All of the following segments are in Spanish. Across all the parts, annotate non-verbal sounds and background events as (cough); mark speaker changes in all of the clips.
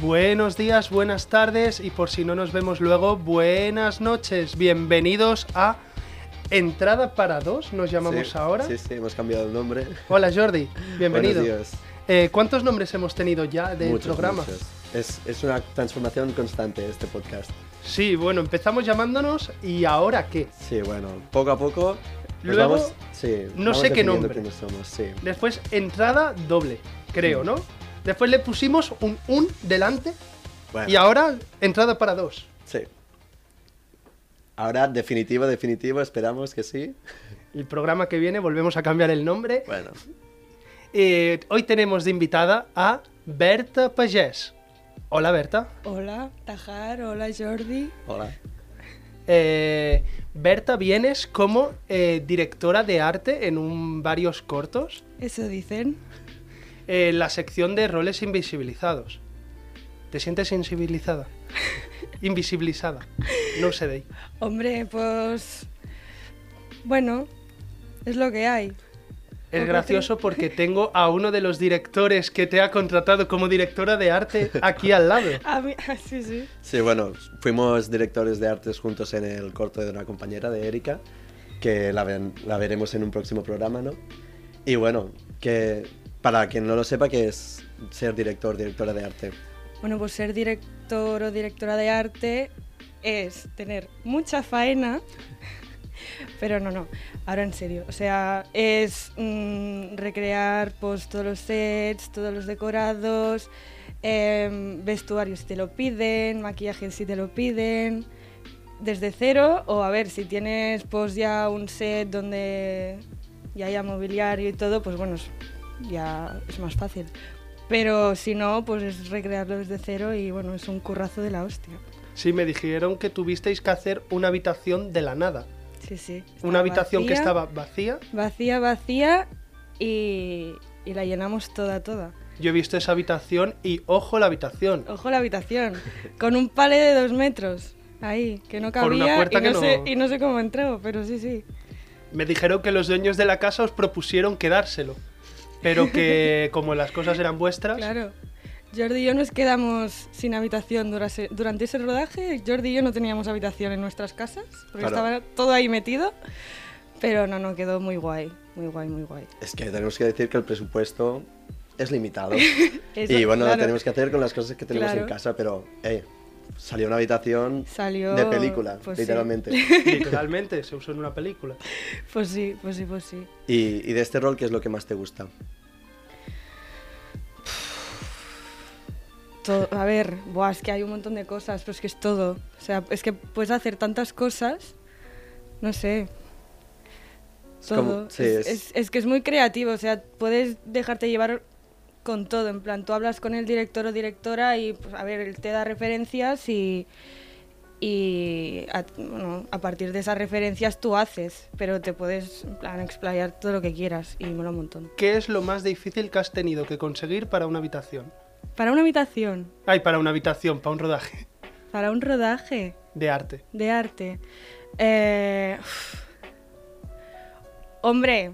Speaker 1: Buenos días, buenas tardes y por si no nos vemos luego, buenas noches. Bienvenidos a Entrada para dos, nos llamamos
Speaker 2: Sí,
Speaker 1: ahora.
Speaker 2: Sí, sí, hemos cambiado el nombre.
Speaker 1: Hola Jordi, bienvenido.
Speaker 2: Buenos días.
Speaker 1: Eh, ¿Cuántos nombres hemos tenido ya del
Speaker 2: Muchos,
Speaker 1: programa?
Speaker 2: muchos. Es, es una transformación constante este podcast.
Speaker 1: Sí, bueno, empezamos llamándonos y ahora qué.
Speaker 2: Sí, bueno, poco a poco. nos
Speaker 1: Luego,
Speaker 2: vamos, sí,
Speaker 1: no
Speaker 2: vamos
Speaker 1: sé qué
Speaker 2: definiendo
Speaker 1: nombre.
Speaker 2: quiénes somos, sí.
Speaker 1: Después entrada doble, creo,
Speaker 2: Mm.
Speaker 1: ¿no? Después le pusimos un un delante
Speaker 2: Bueno,
Speaker 1: y ahora entrada para dos.
Speaker 2: sí. Ahora, definitivo, definitivo, esperamos que sí.
Speaker 1: El programa que viene volvemos a cambiar el nombre.
Speaker 2: Bueno,
Speaker 1: Eh, hoy tenemos de invitada a Berta Pagés. Hola Berta.
Speaker 3: Hola, Tajar, hola Jordi.
Speaker 2: hola.
Speaker 1: Eh, Berta, vienes como eh, directora de arte en un, varios cortos,
Speaker 3: Eso dicen.
Speaker 1: eh, en la sección de roles invisibilizados. ¿Te sientes sensibilizada? Invisibilizada. No sé de ahí.
Speaker 3: Hombre, pues. Bueno, es lo que hay.
Speaker 1: Es
Speaker 3: Ojo,
Speaker 1: gracioso porque tengo a uno de los directores que te ha contratado como directora de arte aquí al lado.
Speaker 3: A mí, (laughs) ah, sí, sí.
Speaker 2: Sí, bueno, fuimos directores de artes juntos en el corto de una compañera de Erika, que la, ven- la veremos en un próximo programa, ¿no? Y bueno, que para quien no lo sepa, que es ser director, directora de arte.
Speaker 3: Bueno, pues ser director o directora de arte es tener mucha faena. (laughs) Pero no, no, ahora en serio. O sea, es mm, recrear pues, todos los sets, todos los decorados, em, vestuarios si te lo piden, maquillaje si te lo piden, desde cero. O a ver, si tienes pues ya un set donde ya haya mobiliario y todo, pues bueno, es- ya es más fácil. Pero si no, pues es recrearlo desde cero y bueno, es un currazo de la hostia.
Speaker 1: Sí, me dijeron que tuvisteis que hacer una habitación de la nada.
Speaker 3: Sí, sí.
Speaker 1: Una
Speaker 3: Estaba
Speaker 1: habitación que
Speaker 3: vacía.
Speaker 1: estaba vacía.
Speaker 3: Vacía, vacía y, y la llenamos toda, toda.
Speaker 1: Yo he visto esa habitación y ojo la habitación.
Speaker 3: Ojo
Speaker 1: (laughs)
Speaker 3: la habitación, con un palé de dos metros, ahí, que no
Speaker 1: Por una
Speaker 3: cabía
Speaker 1: puerta
Speaker 3: y,
Speaker 1: que
Speaker 3: no
Speaker 1: no-
Speaker 3: Sé, y no sé cómo entró, pero sí, sí.
Speaker 1: Me dijeron que los dueños de la casa os propusieron quedárselo, pero
Speaker 3: (laughs)
Speaker 1: que como las cosas eran vuestras,
Speaker 3: Claro. Jordi y yo nos quedamos sin habitación durase- durante ese rodaje. Jordi y yo no teníamos habitación en nuestras casas, porque
Speaker 2: Claro.
Speaker 3: estaba todo ahí metido. Pero no, no, quedó muy guay, muy guay, muy guay.
Speaker 2: Es que tenemos que decir que el presupuesto es limitado.
Speaker 3: (laughs) Eso,
Speaker 2: y bueno,
Speaker 3: claro.
Speaker 2: lo tenemos que hacer con las cosas que tenemos en
Speaker 3: Claro.
Speaker 2: casa, pero, eh, salió una habitación
Speaker 3: Salió,
Speaker 2: de película,
Speaker 3: pues sí.
Speaker 2: literalmente.
Speaker 3: (laughs)
Speaker 1: literalmente se usó en una película.
Speaker 3: Pues sí, pues sí, pues sí.
Speaker 2: Y, y de este rol, ¿qué es lo que más te gusta?
Speaker 3: Todo- a ver, buah, es que hay un montón de cosas, pero es que es todo. O sea, es que puedes hacer tantas cosas, no sé.
Speaker 2: Es
Speaker 3: Todo.
Speaker 2: como- sí,
Speaker 3: es,
Speaker 2: es-
Speaker 3: es- es que es muy creativo, o sea, puedes dejarte llevar con todo. En plan, tú hablas con el director o directora y, pues, a ver, él te da referencias y. Y a, bueno, a partir de esas referencias tú haces, pero te puedes en plan, explayar todo lo que quieras y mola un montón.
Speaker 1: ¿Qué es lo más difícil que has tenido que conseguir para una habitación?
Speaker 3: Para una habitación,
Speaker 1: Ay, para una habitación, para un rodaje
Speaker 3: para un rodaje,
Speaker 1: de arte.
Speaker 3: de arte. Eh, uf. hombre,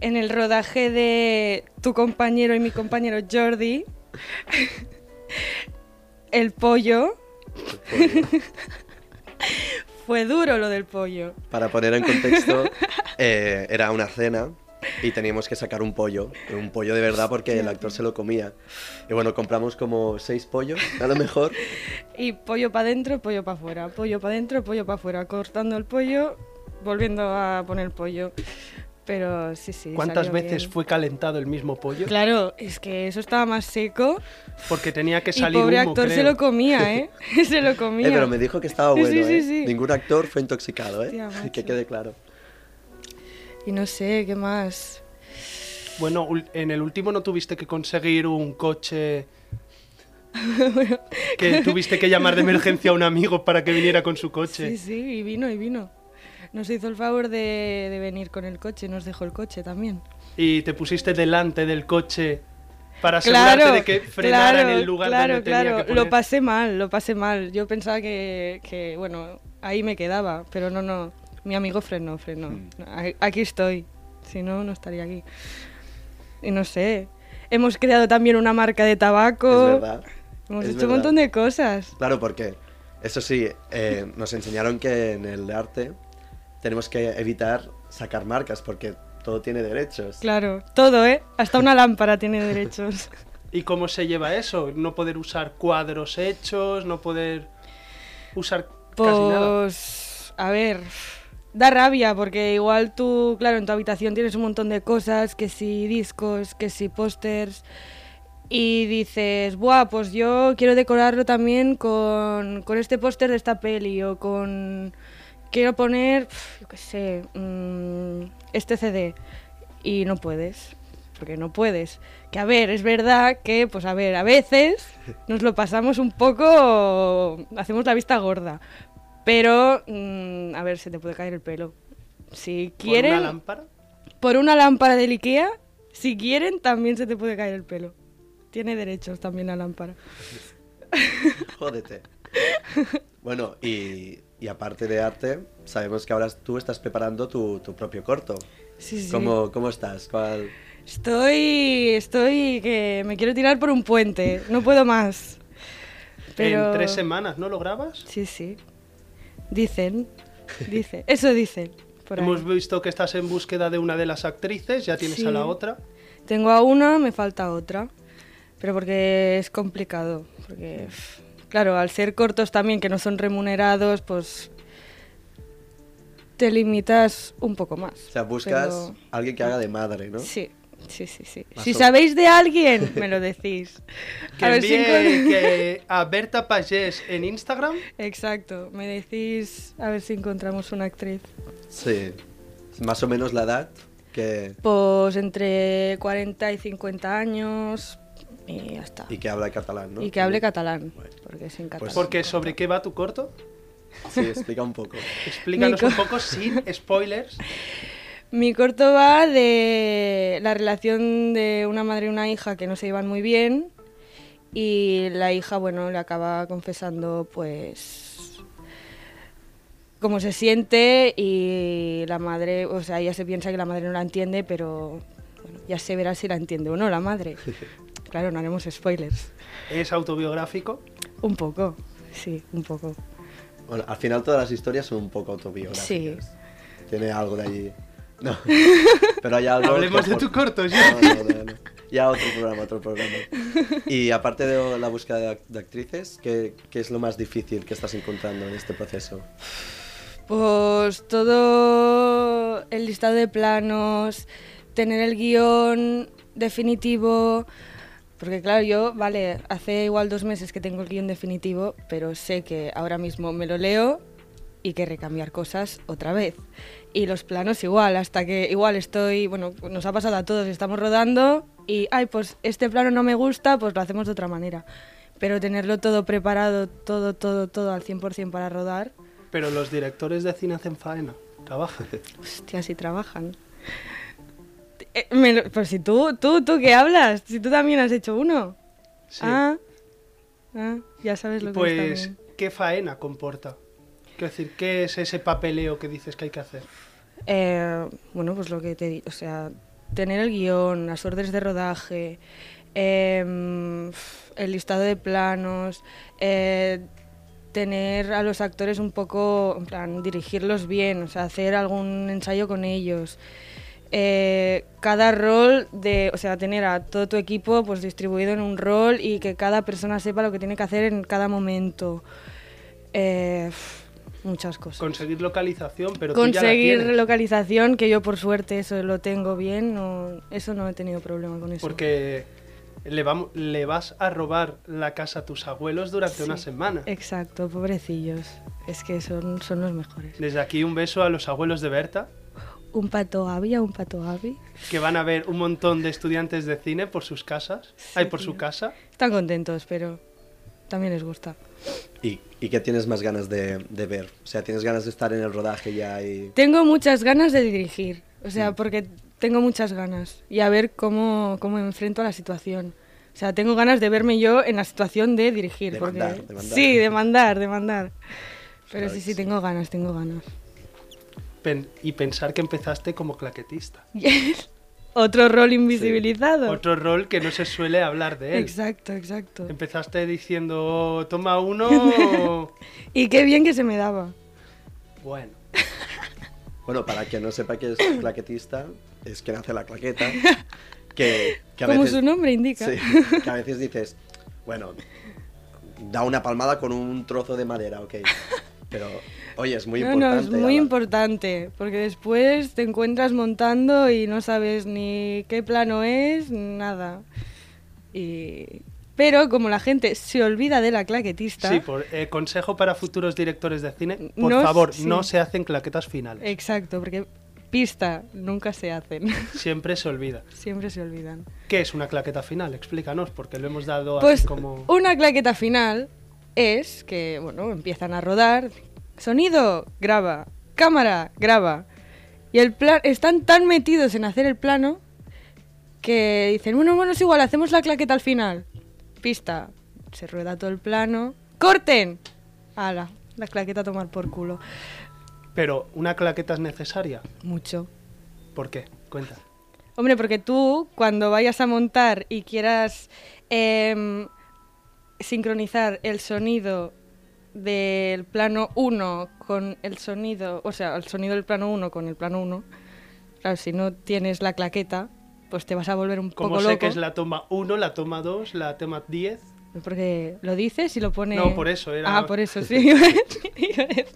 Speaker 3: en el rodaje de tu compañero y mi compañero Jordi, el pollo
Speaker 1: (laughs)
Speaker 3: fue duro lo del pollo.
Speaker 2: Para poner en
Speaker 3: (laughs)
Speaker 2: contexto, eh, era una cena y teníamos que sacar un pollo, un pollo de verdad porque el actor se lo comía. Y bueno, compramos como seis pollos, a lo
Speaker 3: (laughs)
Speaker 2: mejor. Eh,
Speaker 3: Y pollo para adentro, pollo para afuera, pollo para adentro, pollo para afuera, cortando el pollo, volviendo a poner pollo. Pero sí, sí.
Speaker 1: ¿Cuántas
Speaker 3: salió
Speaker 1: veces
Speaker 3: bien.
Speaker 1: fue calentado el mismo pollo?
Speaker 3: Claro, es que eso estaba más seco.
Speaker 1: Porque tenía que
Speaker 3: Y
Speaker 1: salir
Speaker 3: pobre
Speaker 1: humo,
Speaker 3: actor se
Speaker 1: creo. (laughs)
Speaker 3: lo comía, ¿eh? (laughs) se lo comía.
Speaker 2: Eh, pero me dijo que estaba
Speaker 3: Sí,
Speaker 2: bueno,
Speaker 3: sí, sí,
Speaker 2: ¿eh?
Speaker 3: sí.
Speaker 2: Ningún actor fue (laughs) intoxicado, ¿eh?
Speaker 3: Hostia, macho.
Speaker 2: que quede claro.
Speaker 3: Y no sé, ¿qué más?
Speaker 1: Bueno, ul- en el último no tuviste que conseguir un
Speaker 3: (laughs)
Speaker 1: coche que tuviste que llamar de emergencia a un amigo para que viniera con su coche.
Speaker 3: Sí, sí, y vino, y vino. Nos hizo el favor de, de venir con el coche, nos dejó el coche también.
Speaker 1: Y te pusiste delante del coche para asegurarte de que frenara en el lugar
Speaker 3: claro,
Speaker 1: donde
Speaker 3: claro.
Speaker 1: tenía que
Speaker 3: Lo
Speaker 1: poner.
Speaker 3: pasé mal, lo pasé mal. Yo pensaba que, que, bueno, ahí me quedaba, pero no, no. Mi amigo frenó, frenó.
Speaker 4: Mm.
Speaker 3: A- Aquí estoy. Si no, no estaría aquí. Y no sé. Hemos creado también una marca de tabaco.
Speaker 2: Es verdad.
Speaker 3: Hemos
Speaker 2: es
Speaker 3: hecho un
Speaker 2: verdad.
Speaker 3: montón de cosas.
Speaker 2: Claro, porque eso sí, eh, nos enseñaron que en el arte tenemos que evitar sacar marcas porque todo tiene derechos.
Speaker 3: Claro, todo, ¿eh? Hasta una lámpara tiene derechos.
Speaker 1: ¿Y cómo se lleva eso? No poder usar cuadros hechos, no poder usar (laughs) casi nada.
Speaker 3: Pues, a ver, da rabia porque igual tú, claro, en tu habitación tienes un montón de cosas, que si discos, que si pósters, y dices, buah, pues yo quiero decorarlo también con, con este póster de esta peli o con... Quiero poner, pf, yo qué sé, mm, este CD y no puedes, porque no puedes. Que a ver, es verdad que, pues a ver, a veces nos lo pasamos un poco, hacemos la vista gorda, pero, mm, a ver, se te puede caer el pelo. Si
Speaker 1: ¿Por
Speaker 3: quieren,
Speaker 1: una lámpara?
Speaker 3: por una lámpara del Ikea, si quieren, también se te puede caer el pelo. Tiene derechos también la lámpara.
Speaker 2: (laughs) Jódete. Bueno, y, y aparte de arte, sabemos que ahora tú estás preparando tu, tu propio corto.
Speaker 3: Sí, sí.
Speaker 2: ¿Cómo, cómo estás? ¿Cuál-
Speaker 3: Estoy, estoy que me quiero tirar por un puente. No puedo más. Pero...
Speaker 1: En tres semanas, ¿no lo grabas?
Speaker 3: Sí, sí.
Speaker 1: (laughs)
Speaker 3: Dicen, dicen. Eso dicen. por ahí.
Speaker 1: Hemos visto que estás en búsqueda de una de las actrices, ya tienes a la
Speaker 3: Sí.
Speaker 1: otra.
Speaker 3: Tengo a una, me falta otra. Pero porque es complicado. Porque, pf, claro, al ser cortos también, que no son remunerados, pues te limitas un poco más.
Speaker 2: O sea, buscas
Speaker 3: Pero-
Speaker 2: a alguien que haga de madre, ¿no?
Speaker 3: Sí, sí, sí, sí.
Speaker 2: Más
Speaker 3: si
Speaker 2: o-
Speaker 3: sabéis de alguien, me
Speaker 1: (laughs)
Speaker 3: lo decís.
Speaker 1: Que
Speaker 3: ver si
Speaker 1: envíe
Speaker 3: encon-
Speaker 1: que a Berta Pagés en Instagram.
Speaker 3: (laughs) Exacto, me decís a ver si encontramos una actriz.
Speaker 2: Sí. Más o menos la edad que,
Speaker 3: Pues entre 40 y 50 años y ya está.
Speaker 2: y que habla catalán, ¿no?
Speaker 3: Y que hable catalán,
Speaker 2: Bueno. Pues
Speaker 3: porque es en catalán.
Speaker 1: Porque sobre qué va tu corto.
Speaker 2: Sí, explica un poco.
Speaker 1: Explícanos
Speaker 3: Nico.
Speaker 1: un poco sin spoilers.
Speaker 3: Mi corto va de la relación de una madre y una hija que no se llevan muy bien y la hija, bueno, le acaba confesando pues cómo se siente y la madre, o sea, ella se piensa que la madre no la entiende, pero bueno, ya se verá si la entiende o no
Speaker 2: (laughs)
Speaker 3: la madre. Claro, no haremos spoilers.
Speaker 1: Es autobiográfico.
Speaker 3: Un poco, sí, un poco.
Speaker 2: Bueno, al final todas las historias son un poco autobiográficas. Tiene algo de allí. No.
Speaker 3: (laughs)
Speaker 2: Pero hay algo.
Speaker 1: Hablemos
Speaker 2: que
Speaker 1: de
Speaker 2: por-
Speaker 1: tu corto, ya.
Speaker 2: No, no, no, no. Ya otro programa, otro programa. Y aparte de la búsqueda de, act- de actrices, ¿qué, qué es lo más difícil que estás encontrando en este proceso?
Speaker 3: Pues todo el listado de planos, tener el guión definitivo. Porque claro, yo, vale, hace igual dos meses que tengo el guión definitivo, pero sé que ahora mismo me lo leo y que recambiar cosas otra vez. Y los planos igual, hasta que igual estoy, bueno, nos ha pasado a todos, estamos rodando y, ay, pues este plano no me gusta, pues lo hacemos de otra manera. Pero tenerlo todo preparado, todo, todo, todo al 100% para rodar,
Speaker 1: Pero los directores de cine hacen faena. Trabajan.
Speaker 3: Hostia, si trabajan. Eh, me lo- pero si tú, tú, tú que hablas, si tú también has hecho uno.
Speaker 1: Sí.
Speaker 3: Ah, ah, ya sabes lo que es
Speaker 1: pues,
Speaker 3: también.
Speaker 1: ¿qué faena comporta? Quiero decir, ¿qué es ese papeleo que dices que hay que hacer?
Speaker 3: Eh, bueno, pues lo que te digo, o sea, tener el guión, las órdenes de rodaje, em, el listado de planos, eh, tener a los actores un poco, en plan, dirigirlos bien, o sea, hacer algún ensayo con ellos. Eh, cada rol de, o sea, tener a todo tu equipo pues distribuido en un rol y que cada persona sepa lo que tiene que hacer en cada momento. Eh, muchas cosas
Speaker 1: Conseguir localización, pero tú ya la
Speaker 3: conseguir
Speaker 1: tienes.
Speaker 3: localización, que yo por suerte eso lo tengo bien, no, eso no he tenido problema con eso.
Speaker 1: Porque le, vam- le vas a robar la casa a tus abuelos durante
Speaker 3: Sí.
Speaker 1: una semana.
Speaker 3: Exacto, pobrecillos. Es que son, son los mejores.
Speaker 1: Desde aquí un beso a los abuelos de Berta.
Speaker 3: un pato Abby a un pato Abby.
Speaker 1: Que van a ver un montón de estudiantes de cine por sus casas.
Speaker 3: Sí,
Speaker 1: Ay, por su
Speaker 3: tío.
Speaker 1: casa.
Speaker 3: Están contentos, pero también les gusta.
Speaker 2: ¿Y, y qué tienes más ganas de, de ver? O sea, ¿tienes ganas de estar en el rodaje ya y...?
Speaker 3: Tengo muchas ganas de dirigir, o
Speaker 1: Mm.
Speaker 3: sea, porque tengo muchas ganas y a ver cómo, cómo me enfrento a la situación. O sea, tengo ganas de verme yo en la situación de dirigir.
Speaker 2: De
Speaker 3: porque-
Speaker 2: mandar, de mandar.
Speaker 3: Sí, de mandar, de mandar. Pero
Speaker 2: Claro
Speaker 3: sí,
Speaker 2: que
Speaker 3: sí,
Speaker 2: sí.
Speaker 3: tengo ganas, tengo ganas.
Speaker 1: Pen- y pensar que empezaste como claquetista.
Speaker 3: (laughs) Otro rol invisibilizado.
Speaker 1: Otro Em, rol que no se suele hablar de él.
Speaker 3: Exacto, exacto.
Speaker 1: Empezaste diciendo, "Oh, toma
Speaker 3: (laughs)
Speaker 1: uno.
Speaker 3: Y qué bien que se me daba.
Speaker 1: bueno,
Speaker 2: Bueno, para quien no sepa que es claquetista, es quien hace la claqueta, que, que a
Speaker 3: Como
Speaker 2: veces...
Speaker 3: su nombre indica.
Speaker 2: Sí, que a veces dices, bueno, da una palmada con un trozo de madera, ok. Pero, oye, es muy
Speaker 3: no,
Speaker 2: importante.
Speaker 3: no, es muy
Speaker 2: hablar.
Speaker 3: importante, porque después te encuentras montando y no sabes ni qué plano es, nada. Y... Pero como la gente se olvida de la claquetista,
Speaker 1: sí, por, eh, consejo para futuros directores de cine. Por
Speaker 3: No,
Speaker 1: favor,
Speaker 3: sí.
Speaker 1: no se hacen claquetas finales.
Speaker 3: exacto, porque pista nunca se hacen, (laughs)
Speaker 1: Siempre se olvida.
Speaker 3: siempre se olvidan.
Speaker 1: ¿Qué es una claqueta final? Explícanos, porque lo hemos dado
Speaker 3: Pues
Speaker 1: así como...
Speaker 3: una claqueta final es que, bueno, empiezan a rodar. Sonido, graba. Cámara, graba. Y el plan, están tan metidos en hacer el plano que dicen, bueno, bueno, es igual, hacemos la claqueta al final. Pista, se rueda todo el plano. ¡Corten! Ala, la claqueta a tomar por culo.
Speaker 1: Pero, ¿una claqueta es necesaria?
Speaker 3: Mucho.
Speaker 1: ¿Por qué? Cuenta.
Speaker 3: Hombre, porque tú cuando vayas a montar y quieras em, sincronizar el sonido del plano 1 con el sonido, o sea, el sonido del plano 1 con el plano 1, claro, si no tienes la claqueta, pues te vas a volver un
Speaker 1: Como
Speaker 3: poco
Speaker 1: sé
Speaker 3: loco.
Speaker 1: que es la toma 1, la toma 2, la toma 10...
Speaker 3: Porque lo dices y lo pone...
Speaker 1: No, por eso, era-
Speaker 3: Ah,
Speaker 1: (laughs)
Speaker 3: por eso, sí. (laughs) iba a decir- iba a decir.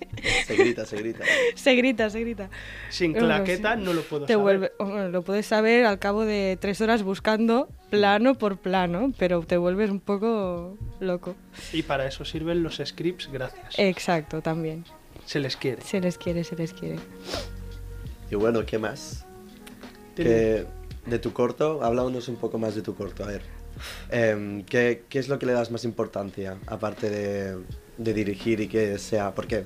Speaker 2: Se grita, se grita.
Speaker 3: se grita, se grita.
Speaker 1: Sin
Speaker 3: Bueno,
Speaker 1: claqueta
Speaker 3: sí.
Speaker 1: no lo puedo
Speaker 3: Te
Speaker 1: saber.
Speaker 3: vuelve- oh, bueno, lo puedes saber al cabo de tres horas buscando plano por plano, pero te vuelves un poco loco.
Speaker 1: Y para eso sirven los scripts, gracias.
Speaker 3: Eh, Exacto, también.
Speaker 1: Se les quiere.
Speaker 3: Se les quiere, se les quiere.
Speaker 2: Y bueno, ¿qué más? Que de tu corto, háblanos un poco más de tu corto, a ver. Em, ¿qué, qué es lo que le das más importancia, aparte de, de dirigir y que sea? Porque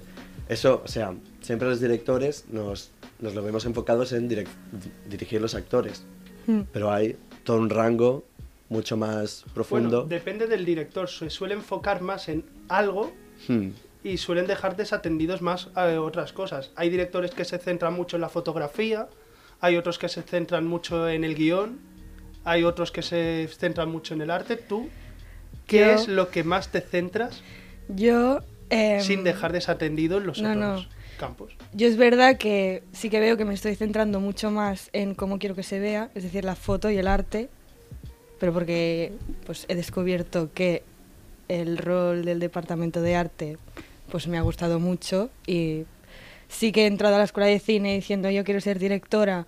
Speaker 2: eso, o sea, siempre los directores nos, nos lo vemos enfocados en direc- di- dirigir los actores,
Speaker 3: Mm.
Speaker 2: pero hay todo un rango mucho más
Speaker 1: Bueno,
Speaker 2: profundo.
Speaker 1: depende del director. Se suele enfocar más en algo
Speaker 2: Hmm,
Speaker 1: y suelen dejar desatendidos más a otras cosas. Hay directores que se centran mucho en la fotografía, hay otros que se centran mucho en el guión, hay otros que se centran mucho en el arte. ¿Tú qué
Speaker 3: Yo-
Speaker 1: es lo que más te centras
Speaker 3: Yo... em,
Speaker 1: sin dejar desatendido en los
Speaker 3: no,
Speaker 1: otros
Speaker 3: no.
Speaker 1: campos?
Speaker 3: Yo es verdad que sí que veo que me estoy centrando mucho más en cómo quiero que se vea, es decir, la foto y el arte, pero porque pues he descubierto que el rol del departamento de arte pues me ha gustado mucho y sí que he entrado a la escuela de cine diciendo yo quiero ser directora,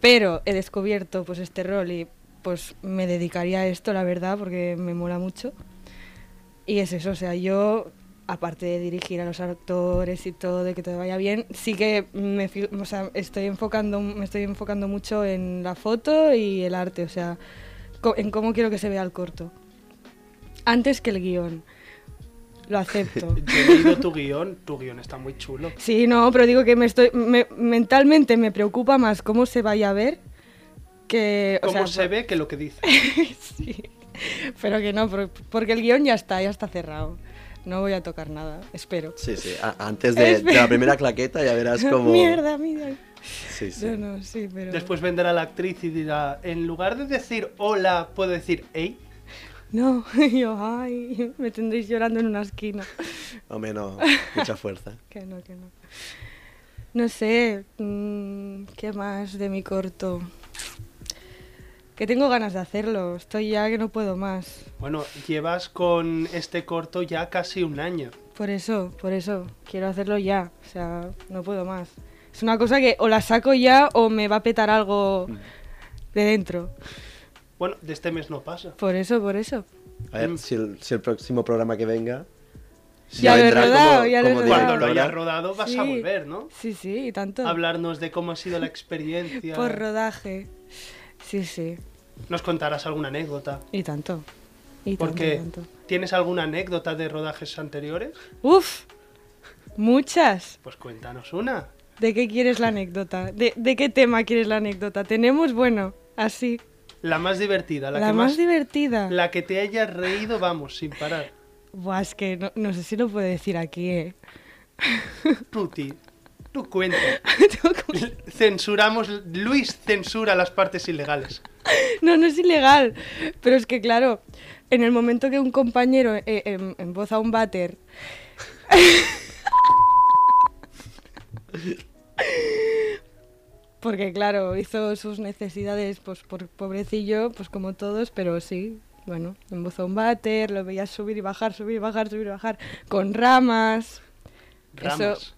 Speaker 3: pero he descubierto pues este rol y pues me dedicaría a esto, la verdad, porque me mola mucho. Y es eso, o sea, yo, aparte de dirigir a los actores y todo, de que todo vaya bien, sí que me, fi- o sea, estoy enfocando, me estoy enfocando mucho en la foto y el arte, o sea, co- en cómo quiero que se vea el corto. Antes que el guión. Lo
Speaker 1: (laughs)
Speaker 3: acepto.
Speaker 1: Yo he leído tu guión, tu guión está muy chulo.
Speaker 3: Sí, no, pero digo que me estoy, me- mentalmente me preocupa más cómo se vaya a ver que... o
Speaker 1: ¿Cómo
Speaker 3: sea,
Speaker 1: se ve que lo que dice?
Speaker 3: (laughs) sí. Pero que no, por- porque el guión ya está, ya está cerrado. No voy a tocar nada, espero. (laughs)
Speaker 2: Sí, sí, a- antes de, de la primera claqueta ya verás como...
Speaker 3: Mierda, mira.
Speaker 2: Sí, sí.
Speaker 3: No, no, sí, pero...
Speaker 1: Después vendrá la actriz y dirá, en lugar de decir hola, puedo decir hey.
Speaker 3: No, (laughs) yo, ay, me tendréis llorando en una esquina. (laughs)
Speaker 2: O menos, mucha fuerza.
Speaker 3: Que no, que no. No sé, mm, ¿qué más de mi corto? Que tengo ganas de hacerlo, estoy ya que no puedo más.
Speaker 1: Bueno, llevas con este corto ya casi un año.
Speaker 3: Por eso, por eso, quiero hacerlo ya, o sea, no puedo más. Es una cosa que o la saco ya o me va a petar algo
Speaker 1: Mm.
Speaker 3: de dentro.
Speaker 1: Bueno, de este mes no pasa.
Speaker 3: Por eso, por eso.
Speaker 2: A ver, si el, si el próximo programa que venga Sí,
Speaker 3: Mm. Ya lo he
Speaker 2: vendrá como-
Speaker 3: rodado, ya lo he
Speaker 2: como
Speaker 3: rodado.
Speaker 1: Cuando lo
Speaker 2: directora.
Speaker 1: hayas rodado vas a
Speaker 3: Sí.
Speaker 1: volver, ¿no?
Speaker 3: Sí, sí, y tanto.
Speaker 1: Hablarnos de cómo ha sido la experiencia.
Speaker 3: Por rodaje. Sí, sí,
Speaker 1: Nos contarás alguna anécdota.
Speaker 3: y tanto. Y tanto,
Speaker 1: Porque
Speaker 3: tanto.
Speaker 1: ¿tienes alguna anécdota de rodajes anteriores?
Speaker 3: Uf, muchas.
Speaker 1: Pues cuéntanos una.
Speaker 3: ¿De qué quieres la anécdota? ¿De, de qué tema quieres la anécdota? Tenemos, bueno, así.
Speaker 1: La más divertida, la,
Speaker 3: La,
Speaker 1: que
Speaker 3: más,
Speaker 1: más,
Speaker 3: divertida.
Speaker 1: la que te haya reído, vamos, sin parar.
Speaker 3: Buah, es que no, no sé si lo puedo decir aquí, ¿eh? (laughs)
Speaker 1: Tuti, tú cuenta.
Speaker 3: Tengo como-
Speaker 1: Censuramos, Luis censura las partes ilegales.
Speaker 3: (laughs) No, no es ilegal. Pero es que, claro, en el momento que un compañero eh, em- emboza un váter. (laughs) Porque, claro, hizo sus necesidades, pues por pobrecillo, pues como todos, pero sí, bueno, embozó un váter, lo veías subir y bajar, subir y bajar, subir y bajar, con ramas, Eso-
Speaker 1: Ramas.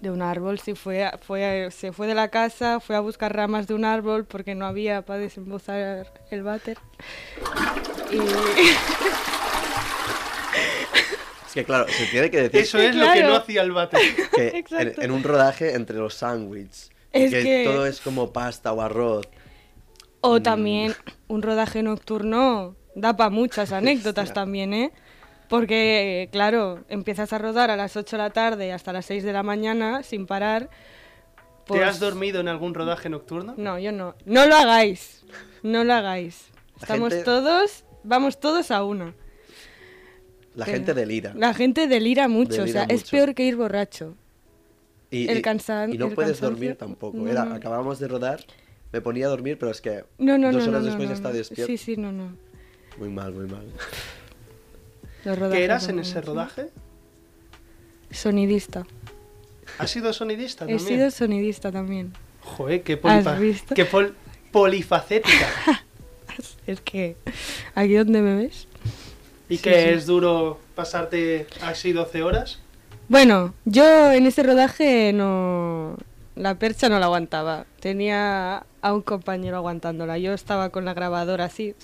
Speaker 3: de un árbol, sí, fue, a- fue, a- se fue de la casa, fue a buscar ramas de un árbol porque no había para desembozar el váter. Y
Speaker 2: Es que claro, se tiene que decir
Speaker 1: Eso
Speaker 3: Sí,
Speaker 1: es lo que
Speaker 3: claro.
Speaker 1: no hacía el
Speaker 3: (laughs)
Speaker 1: váter.
Speaker 2: que en,
Speaker 3: Exacto.
Speaker 2: en un rodaje entre los sándwiches,
Speaker 3: Es
Speaker 2: que,
Speaker 3: que-
Speaker 2: todo es como pasta o arroz. Mm.
Speaker 3: o también un rodaje nocturno da
Speaker 2: (laughs)
Speaker 3: para muchas anécdotas
Speaker 2: Hostia.
Speaker 3: también, ¿eh? Porque, claro, empiezas a rodar a las 8 de la tarde hasta las 6 de la mañana sin parar.
Speaker 1: ¿Te
Speaker 3: pues-
Speaker 1: has dormido en algún rodaje nocturno?
Speaker 3: No, yo no. No lo hagáis. No lo hagáis.
Speaker 2: La
Speaker 3: Estamos
Speaker 2: gente-
Speaker 3: todos, vamos todos a una.
Speaker 2: La
Speaker 3: Pero-
Speaker 2: gente delira.
Speaker 3: La gente delira mucho,
Speaker 2: Delira
Speaker 3: o sea, es
Speaker 2: mucho.
Speaker 3: peor que ir borracho.
Speaker 2: Y,
Speaker 3: el
Speaker 2: y-
Speaker 3: cansan-
Speaker 2: y no
Speaker 3: el
Speaker 2: puedes
Speaker 3: cansancio-
Speaker 2: dormir tampoco.
Speaker 3: no,
Speaker 2: Era,
Speaker 3: no.
Speaker 2: acabábamos de rodar, me ponía a dormir, pero es que
Speaker 3: No, no, no.
Speaker 2: dos
Speaker 3: no,
Speaker 2: horas
Speaker 3: no,
Speaker 2: después
Speaker 3: no,
Speaker 2: ya está
Speaker 3: no.
Speaker 2: despierto.
Speaker 3: Sí, sí, no, no.
Speaker 2: Muy mal, muy mal.
Speaker 3: Los rodajes
Speaker 1: ¿Qué eras
Speaker 3: no,
Speaker 1: en
Speaker 3: no,
Speaker 1: ese
Speaker 3: no.
Speaker 1: rodaje?
Speaker 3: Sonidista.
Speaker 1: ¿Has sido sonidista
Speaker 3: He
Speaker 1: también?
Speaker 3: sido sonidista también.
Speaker 1: Joder, qué,
Speaker 3: ¿Has
Speaker 1: polifa-
Speaker 3: visto?
Speaker 1: qué pol- polifacética.
Speaker 3: (laughs) Es que aquí donde me ves.
Speaker 1: ¿Y
Speaker 3: Sí,
Speaker 1: que
Speaker 3: sí.
Speaker 1: es duro pasarte así 12 horas?
Speaker 3: Bueno, yo en ese rodaje no. La percha no la aguantaba. Tenía a un compañero aguantándola. Yo estaba con la grabadora así.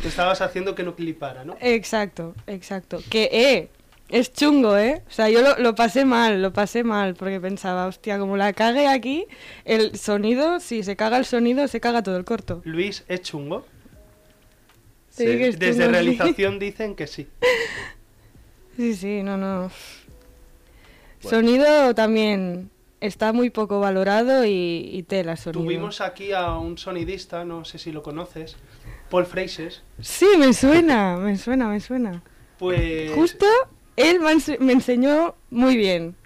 Speaker 1: Te estabas haciendo que no clipara,
Speaker 3: Eh.
Speaker 1: ¿no?
Speaker 3: Exacto, exacto. Que, eh, es chungo, ¿eh? O sea, yo lo, lo pasé mal, lo pasé mal, porque pensaba, hostia, como la cague aquí, el sonido, si se caga el sonido, se caga todo el corto.
Speaker 1: Luis es chungo.
Speaker 3: Te digo que es
Speaker 1: Desde
Speaker 3: chungo, sí. (laughs)
Speaker 1: realización dicen que sí.
Speaker 3: Sí, sí, no, no.
Speaker 2: Bueno.
Speaker 3: Sonido también está muy poco valorado y, y tela sonido.
Speaker 1: Tuvimos aquí a un sonidista, no sé si lo conoces, Paul Freixes.
Speaker 3: Sí, me suena, me suena, me suena.
Speaker 1: Pues
Speaker 3: Justo él me ense- me enseñó muy bien.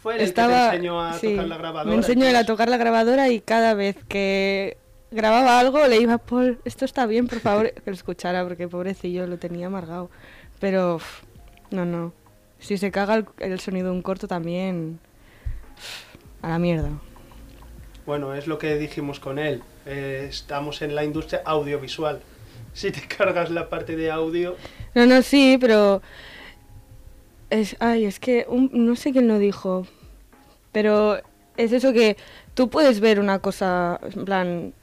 Speaker 1: fue el que
Speaker 3: Estaba,
Speaker 1: te enseñó a
Speaker 3: sí,
Speaker 1: tocar la grabadora.
Speaker 3: Me enseñó él a
Speaker 1: Entonces,
Speaker 3: tocar la grabadora y cada vez que grababa algo le iba, Paul, esto está bien,
Speaker 1: (laughs)
Speaker 3: por favor, que lo escuchara, porque pobrecillo lo tenía amargado. Pero, uf, no, no. Si se caga el, el sonido de un corto también, uf, a la mierda.
Speaker 1: Bueno, es lo que dijimos con él. Eh, estamos en la industria audiovisual. Si te cargas la parte de audio,
Speaker 3: No, no, sí, pero... Es, ay, es que un- no sé quién lo dijo, pero es eso que tú puedes ver una cosa, en plan...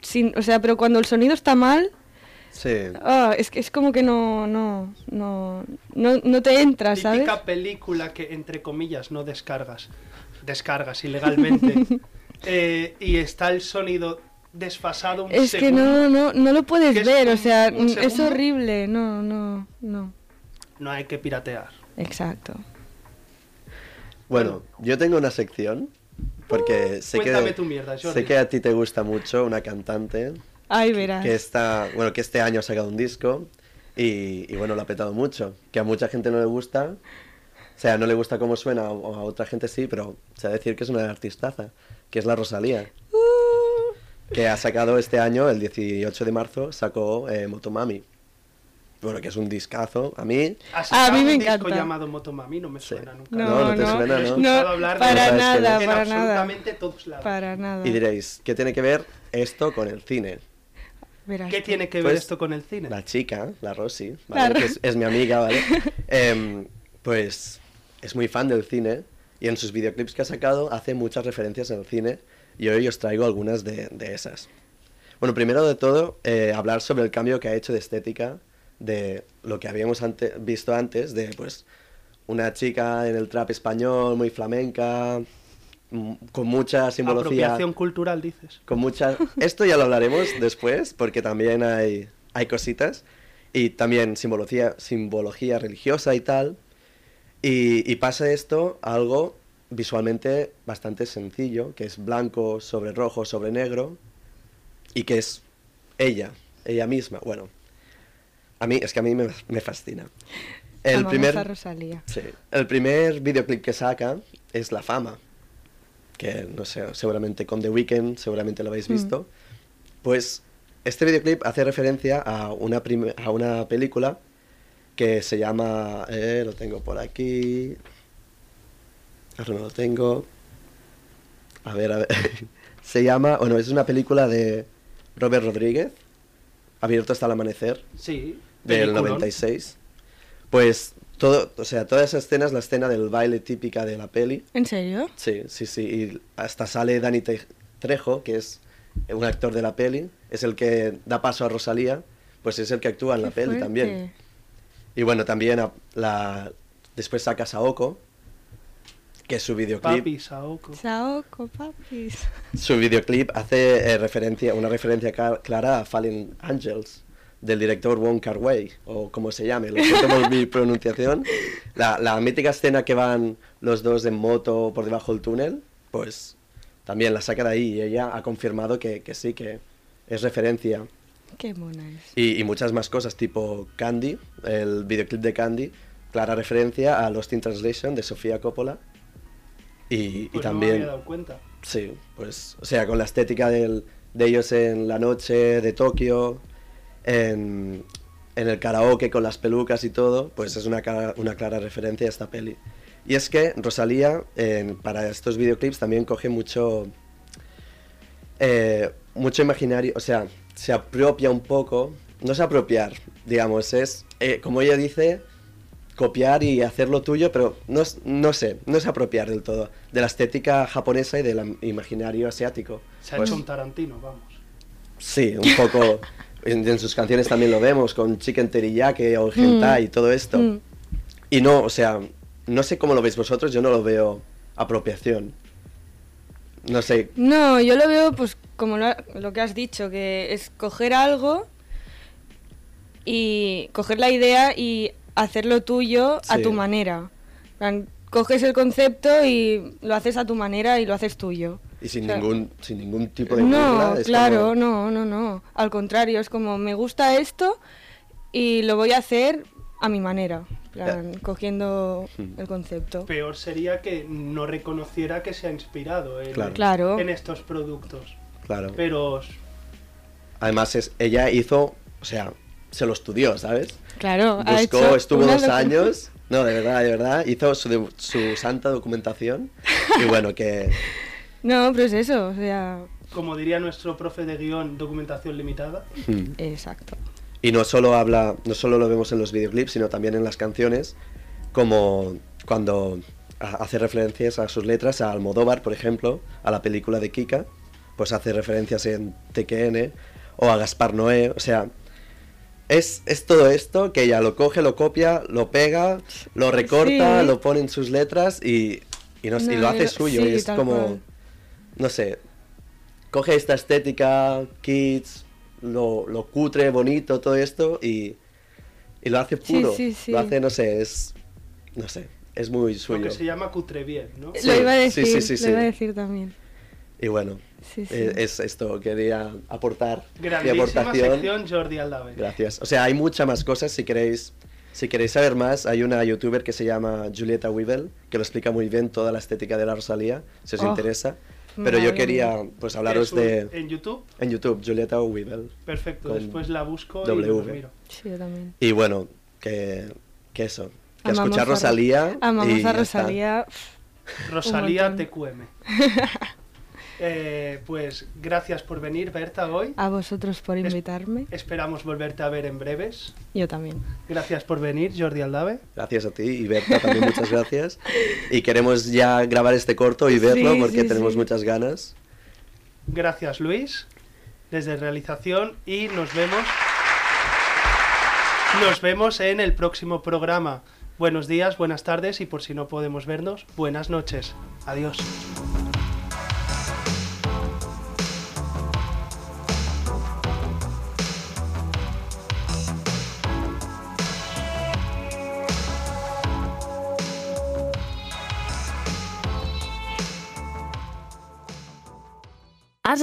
Speaker 3: Sin, o sea, pero cuando el sonido está mal,
Speaker 2: Sí.
Speaker 3: Ah, es que es como que no, no, no, no, no te entra, ¿sabes?
Speaker 1: típica película que, entre comillas, no descargas. Descargas
Speaker 3: (laughs)
Speaker 1: ilegalmente. Eh, y está el sonido desfasado un
Speaker 3: Es que
Speaker 1: segundo.
Speaker 3: no, no, no lo puedes
Speaker 1: Que es
Speaker 3: ver, o
Speaker 1: un-
Speaker 3: sea,
Speaker 1: un
Speaker 3: mm, es
Speaker 1: segundo.
Speaker 3: horrible, no, no, no.
Speaker 1: No hay que piratear.
Speaker 3: Exacto. (laughs)
Speaker 2: Bueno, yo tengo una sección, porque sé
Speaker 1: Cuéntame
Speaker 2: que,
Speaker 1: tu mierda, Jordi.
Speaker 2: sé que a ti te gusta mucho una cantante
Speaker 3: Ay, verás.
Speaker 2: que está, bueno, que este año ha sacado un disco y, y bueno, lo ha petado mucho, que a mucha gente no le gusta, o sea, no le gusta cómo suena, o a otra gente sí, pero se ha de decir que es una artistaza, que es la Rosalía,
Speaker 3: Uh,
Speaker 2: que ha sacado este año, el 18 de marzo, sacó eh, Motomami. Bueno, que es un discazo, a mí,
Speaker 1: Has
Speaker 3: A
Speaker 1: sacado
Speaker 3: mí me
Speaker 1: Ah, un disco
Speaker 3: encanta.
Speaker 1: llamado Motomami, no me
Speaker 2: Sí.
Speaker 1: suena nunca.
Speaker 3: No,
Speaker 2: No,
Speaker 3: no,
Speaker 2: no te suena,
Speaker 1: He
Speaker 2: ¿no?
Speaker 1: escuchado
Speaker 3: No,
Speaker 1: hablar de
Speaker 3: para
Speaker 1: Motomami
Speaker 2: nada,
Speaker 1: en
Speaker 3: para nada.
Speaker 1: absolutamente todos lados.
Speaker 3: para nada.
Speaker 2: y diréis, ¿qué tiene que ver esto con el cine?
Speaker 3: Verás.
Speaker 1: ¿Qué tiene que ver
Speaker 2: Pues,
Speaker 1: esto con el cine?
Speaker 2: La chica, la Rosy,
Speaker 3: La
Speaker 2: ¿vale?
Speaker 3: Ro-
Speaker 2: que es, es mi amiga, ¿vale? Em, pues es muy fan del cine y en sus videoclips que ha sacado hace muchas referencias al cine y hoy os traigo algunas de, de esas. Bueno, primero de todo, eh, hablar sobre el cambio que ha hecho de estética de lo que habíamos ante- visto antes, de pues una chica en el trap español, muy flamenca, mm, con mucha simbología.
Speaker 1: Apropiación cultural, dices.
Speaker 2: Con mucha... Esto ya lo hablaremos después, porque también hay, hay cositas. Y también simbología, simbología religiosa y tal. Y, y pasa esto a algo visualmente bastante sencillo, que es blanco sobre rojo sobre negro. Y que es ella, ella misma. Bueno, a mí, es que a mí me, me fascina. El
Speaker 3: Amamos
Speaker 2: primer,
Speaker 3: a Rosalía.
Speaker 2: Sí. El primer videoclip que saca es La Fama, que no sé, seguramente con The Weeknd, seguramente lo habéis visto. Pues este videoclip hace referencia a una, prim- a una película que se llama. eh, lo tengo por aquí. Ahora no lo tengo. A ver, a ver. (laughs) se llama. Bueno, es una película de Robert Rodríguez, Abierto hasta el amanecer
Speaker 1: Sí.
Speaker 2: del
Speaker 1: peliculón.
Speaker 2: 96. Pues todo, o sea, toda esa escena es la escena del baile típica de la peli.
Speaker 3: ¿En serio?
Speaker 2: Sí, sí, sí. Y hasta sale Dani Te- Trejo, que es un actor de la peli, es el que da paso a Rosalía, pues es el que actúa en la
Speaker 3: Qué
Speaker 2: peli también.
Speaker 3: fuerte.
Speaker 2: Y bueno, también a- la, después saca Saoko, que es su videoclip.
Speaker 1: Papi, Saoko.
Speaker 3: Saoko, papis. (laughs)
Speaker 2: Su videoclip hace eh, referencia, una referencia ca- clara a Fallen Angels del director Wong Kar Wai o como se llame, lo siento por mi pronunciación. La, la mítica escena que van los dos en moto por debajo del túnel, pues también la saca de ahí y ella ha confirmado que, que sí, que es referencia.
Speaker 3: Qué mona es.
Speaker 2: Y, y muchas más cosas, tipo Candy, el videoclip de Candy, clara referencia a Lost in Translation de Sofía Coppola. Y, y
Speaker 1: Pues No me
Speaker 2: también...
Speaker 1: había dado cuenta.
Speaker 2: Sí, pues, o sea, con la estética del- de ellos en la noche de Tokio, en, en el karaoke con las pelucas y todo, pues es una, cara- una clara referencia a esta peli. Y es que Rosalía, en- para estos videoclips, también coge mucho, eh, mucho imaginario, o sea, se apropia un poco, no es apropiar, digamos, es, eh, como ella dice, copiar y hacerlo tuyo, pero no, es- no sé, no es apropiar del todo de la estética japonesa y del am- imaginario asiático.
Speaker 1: Se ha
Speaker 2: Pues,
Speaker 1: hecho un Tarantino, vamos.
Speaker 2: Sí, un
Speaker 3: (laughs)
Speaker 2: poco. en, en sus canciones también lo vemos, con Chicken Teriyaki o Hentai y todo esto.
Speaker 3: Mm.
Speaker 2: Y no, o sea, no sé cómo lo veis vosotros, yo no lo veo apropiación. No sé,
Speaker 3: No, yo lo veo pues como lo, lo que has dicho, que es coger algo y coger la idea y hacerlo tuyo a
Speaker 2: Sí.
Speaker 3: tu manera. En plan, Coges el concepto y lo haces a tu manera y lo haces tuyo.
Speaker 2: y sin,
Speaker 3: O sea,
Speaker 2: ningún, sin ningún tipo de...
Speaker 3: No,
Speaker 2: burla, es
Speaker 3: claro,
Speaker 2: como-
Speaker 3: no, no, no. Al contrario, es como me gusta esto y lo voy a hacer a mi manera, en plan, cogiendo
Speaker 2: Hmm.
Speaker 3: el concepto.
Speaker 1: Peor sería que no reconociera que se ha inspirado en,
Speaker 2: Claro.
Speaker 3: Claro.
Speaker 1: en estos productos.
Speaker 2: Claro.
Speaker 1: Pero s-
Speaker 2: Además, es, ella hizo, o sea, se lo estudió, ¿sabes?
Speaker 3: Claro, ha
Speaker 2: Buscó,
Speaker 3: hecho
Speaker 2: estuvo
Speaker 3: una
Speaker 2: dos
Speaker 3: locura.
Speaker 2: años. No, de verdad, de verdad. Hizo su, de- su santa documentación. Y bueno,
Speaker 3: (laughs)
Speaker 2: que.
Speaker 3: (laughs) No, pero es eso, o sea,
Speaker 1: como diría nuestro profe de guión, documentación limitada.
Speaker 2: hmm,
Speaker 3: exacto.
Speaker 2: Y no solo habla, no solo lo vemos en los videoclips, sino también en las canciones, como cuando ha- hace referencias a sus letras, a Almodóvar, por ejemplo, a la película de Kika, pues hace referencias en TKN o a Gaspar Noé, o sea, es, es todo esto que ella lo coge, lo copia, lo pega, lo recorta,
Speaker 3: Sí.
Speaker 2: lo pone en sus letras y, y no sé, y
Speaker 3: No,
Speaker 2: lo hace
Speaker 3: yo-
Speaker 2: suyo,
Speaker 3: sí,
Speaker 2: y es
Speaker 3: tal
Speaker 2: como,
Speaker 3: cual.
Speaker 2: no sé, coge esta estética, kids, lo, lo cutre, bonito, todo esto, y, y lo hace
Speaker 3: Sí,
Speaker 2: puro.
Speaker 3: sí, sí.
Speaker 2: Lo hace, no sé, es. No sé, es muy
Speaker 1: Lo
Speaker 2: suyo.
Speaker 1: que se llama cutre bien, ¿no?
Speaker 2: Sí,
Speaker 3: lo iba a
Speaker 2: sí,
Speaker 3: decir,
Speaker 2: sí, sí,
Speaker 3: lo
Speaker 2: sí.
Speaker 3: iba a decir también.
Speaker 2: Y bueno,
Speaker 3: Sí, sí.
Speaker 2: eh, es esto, quería aportar mi
Speaker 1: Grandísima
Speaker 2: aportación.
Speaker 1: sección Jordi Aldave.
Speaker 2: Gracias. O sea, hay muchas más cosas si queréis. Si queréis saber más, hay una youtuber que se llama Julieta Weevil, que lo explica muy bien toda la estética de la Rosalía, si os
Speaker 3: Oh,
Speaker 2: interesa. Pero
Speaker 3: madre
Speaker 2: yo
Speaker 3: mía.
Speaker 2: quería pues
Speaker 1: Es
Speaker 2: hablaros
Speaker 1: un-
Speaker 2: de
Speaker 1: En YouTube,
Speaker 2: en YouTube, Julieta Weevil.
Speaker 1: perfecto.
Speaker 2: Con
Speaker 1: Después la busco y lo
Speaker 2: W.
Speaker 1: miro.
Speaker 3: Sí, yo también.
Speaker 2: Y bueno, que, que eso. Que
Speaker 3: Amamos
Speaker 2: escuchar
Speaker 3: a Ro-
Speaker 2: Rosalía. y
Speaker 3: Amamos
Speaker 2: ya
Speaker 3: a
Speaker 2: está.
Speaker 3: Rosalía. pf,
Speaker 1: Rosalía
Speaker 3: montón.
Speaker 1: TQM. Eh, pues gracias por venir, Berta, hoy.
Speaker 3: A vosotros por invitarme.
Speaker 1: Esperamos volverte a ver en breves.
Speaker 3: Yo también.
Speaker 1: Gracias por venir, Jordi Aldave.
Speaker 2: Gracias a ti y Berta también, muchas
Speaker 3: (laughs)
Speaker 2: gracias. Y queremos ya grabar este corto y verlo
Speaker 3: Sí,
Speaker 2: porque
Speaker 3: sí,
Speaker 2: tenemos
Speaker 3: sí.
Speaker 2: muchas ganas.
Speaker 1: Gracias, Luis, desde Realización. Y nos vemos. Nos vemos en el próximo programa. Buenos días, buenas tardes y por si no podemos vernos, buenas noches. Adiós.
Speaker 5: Has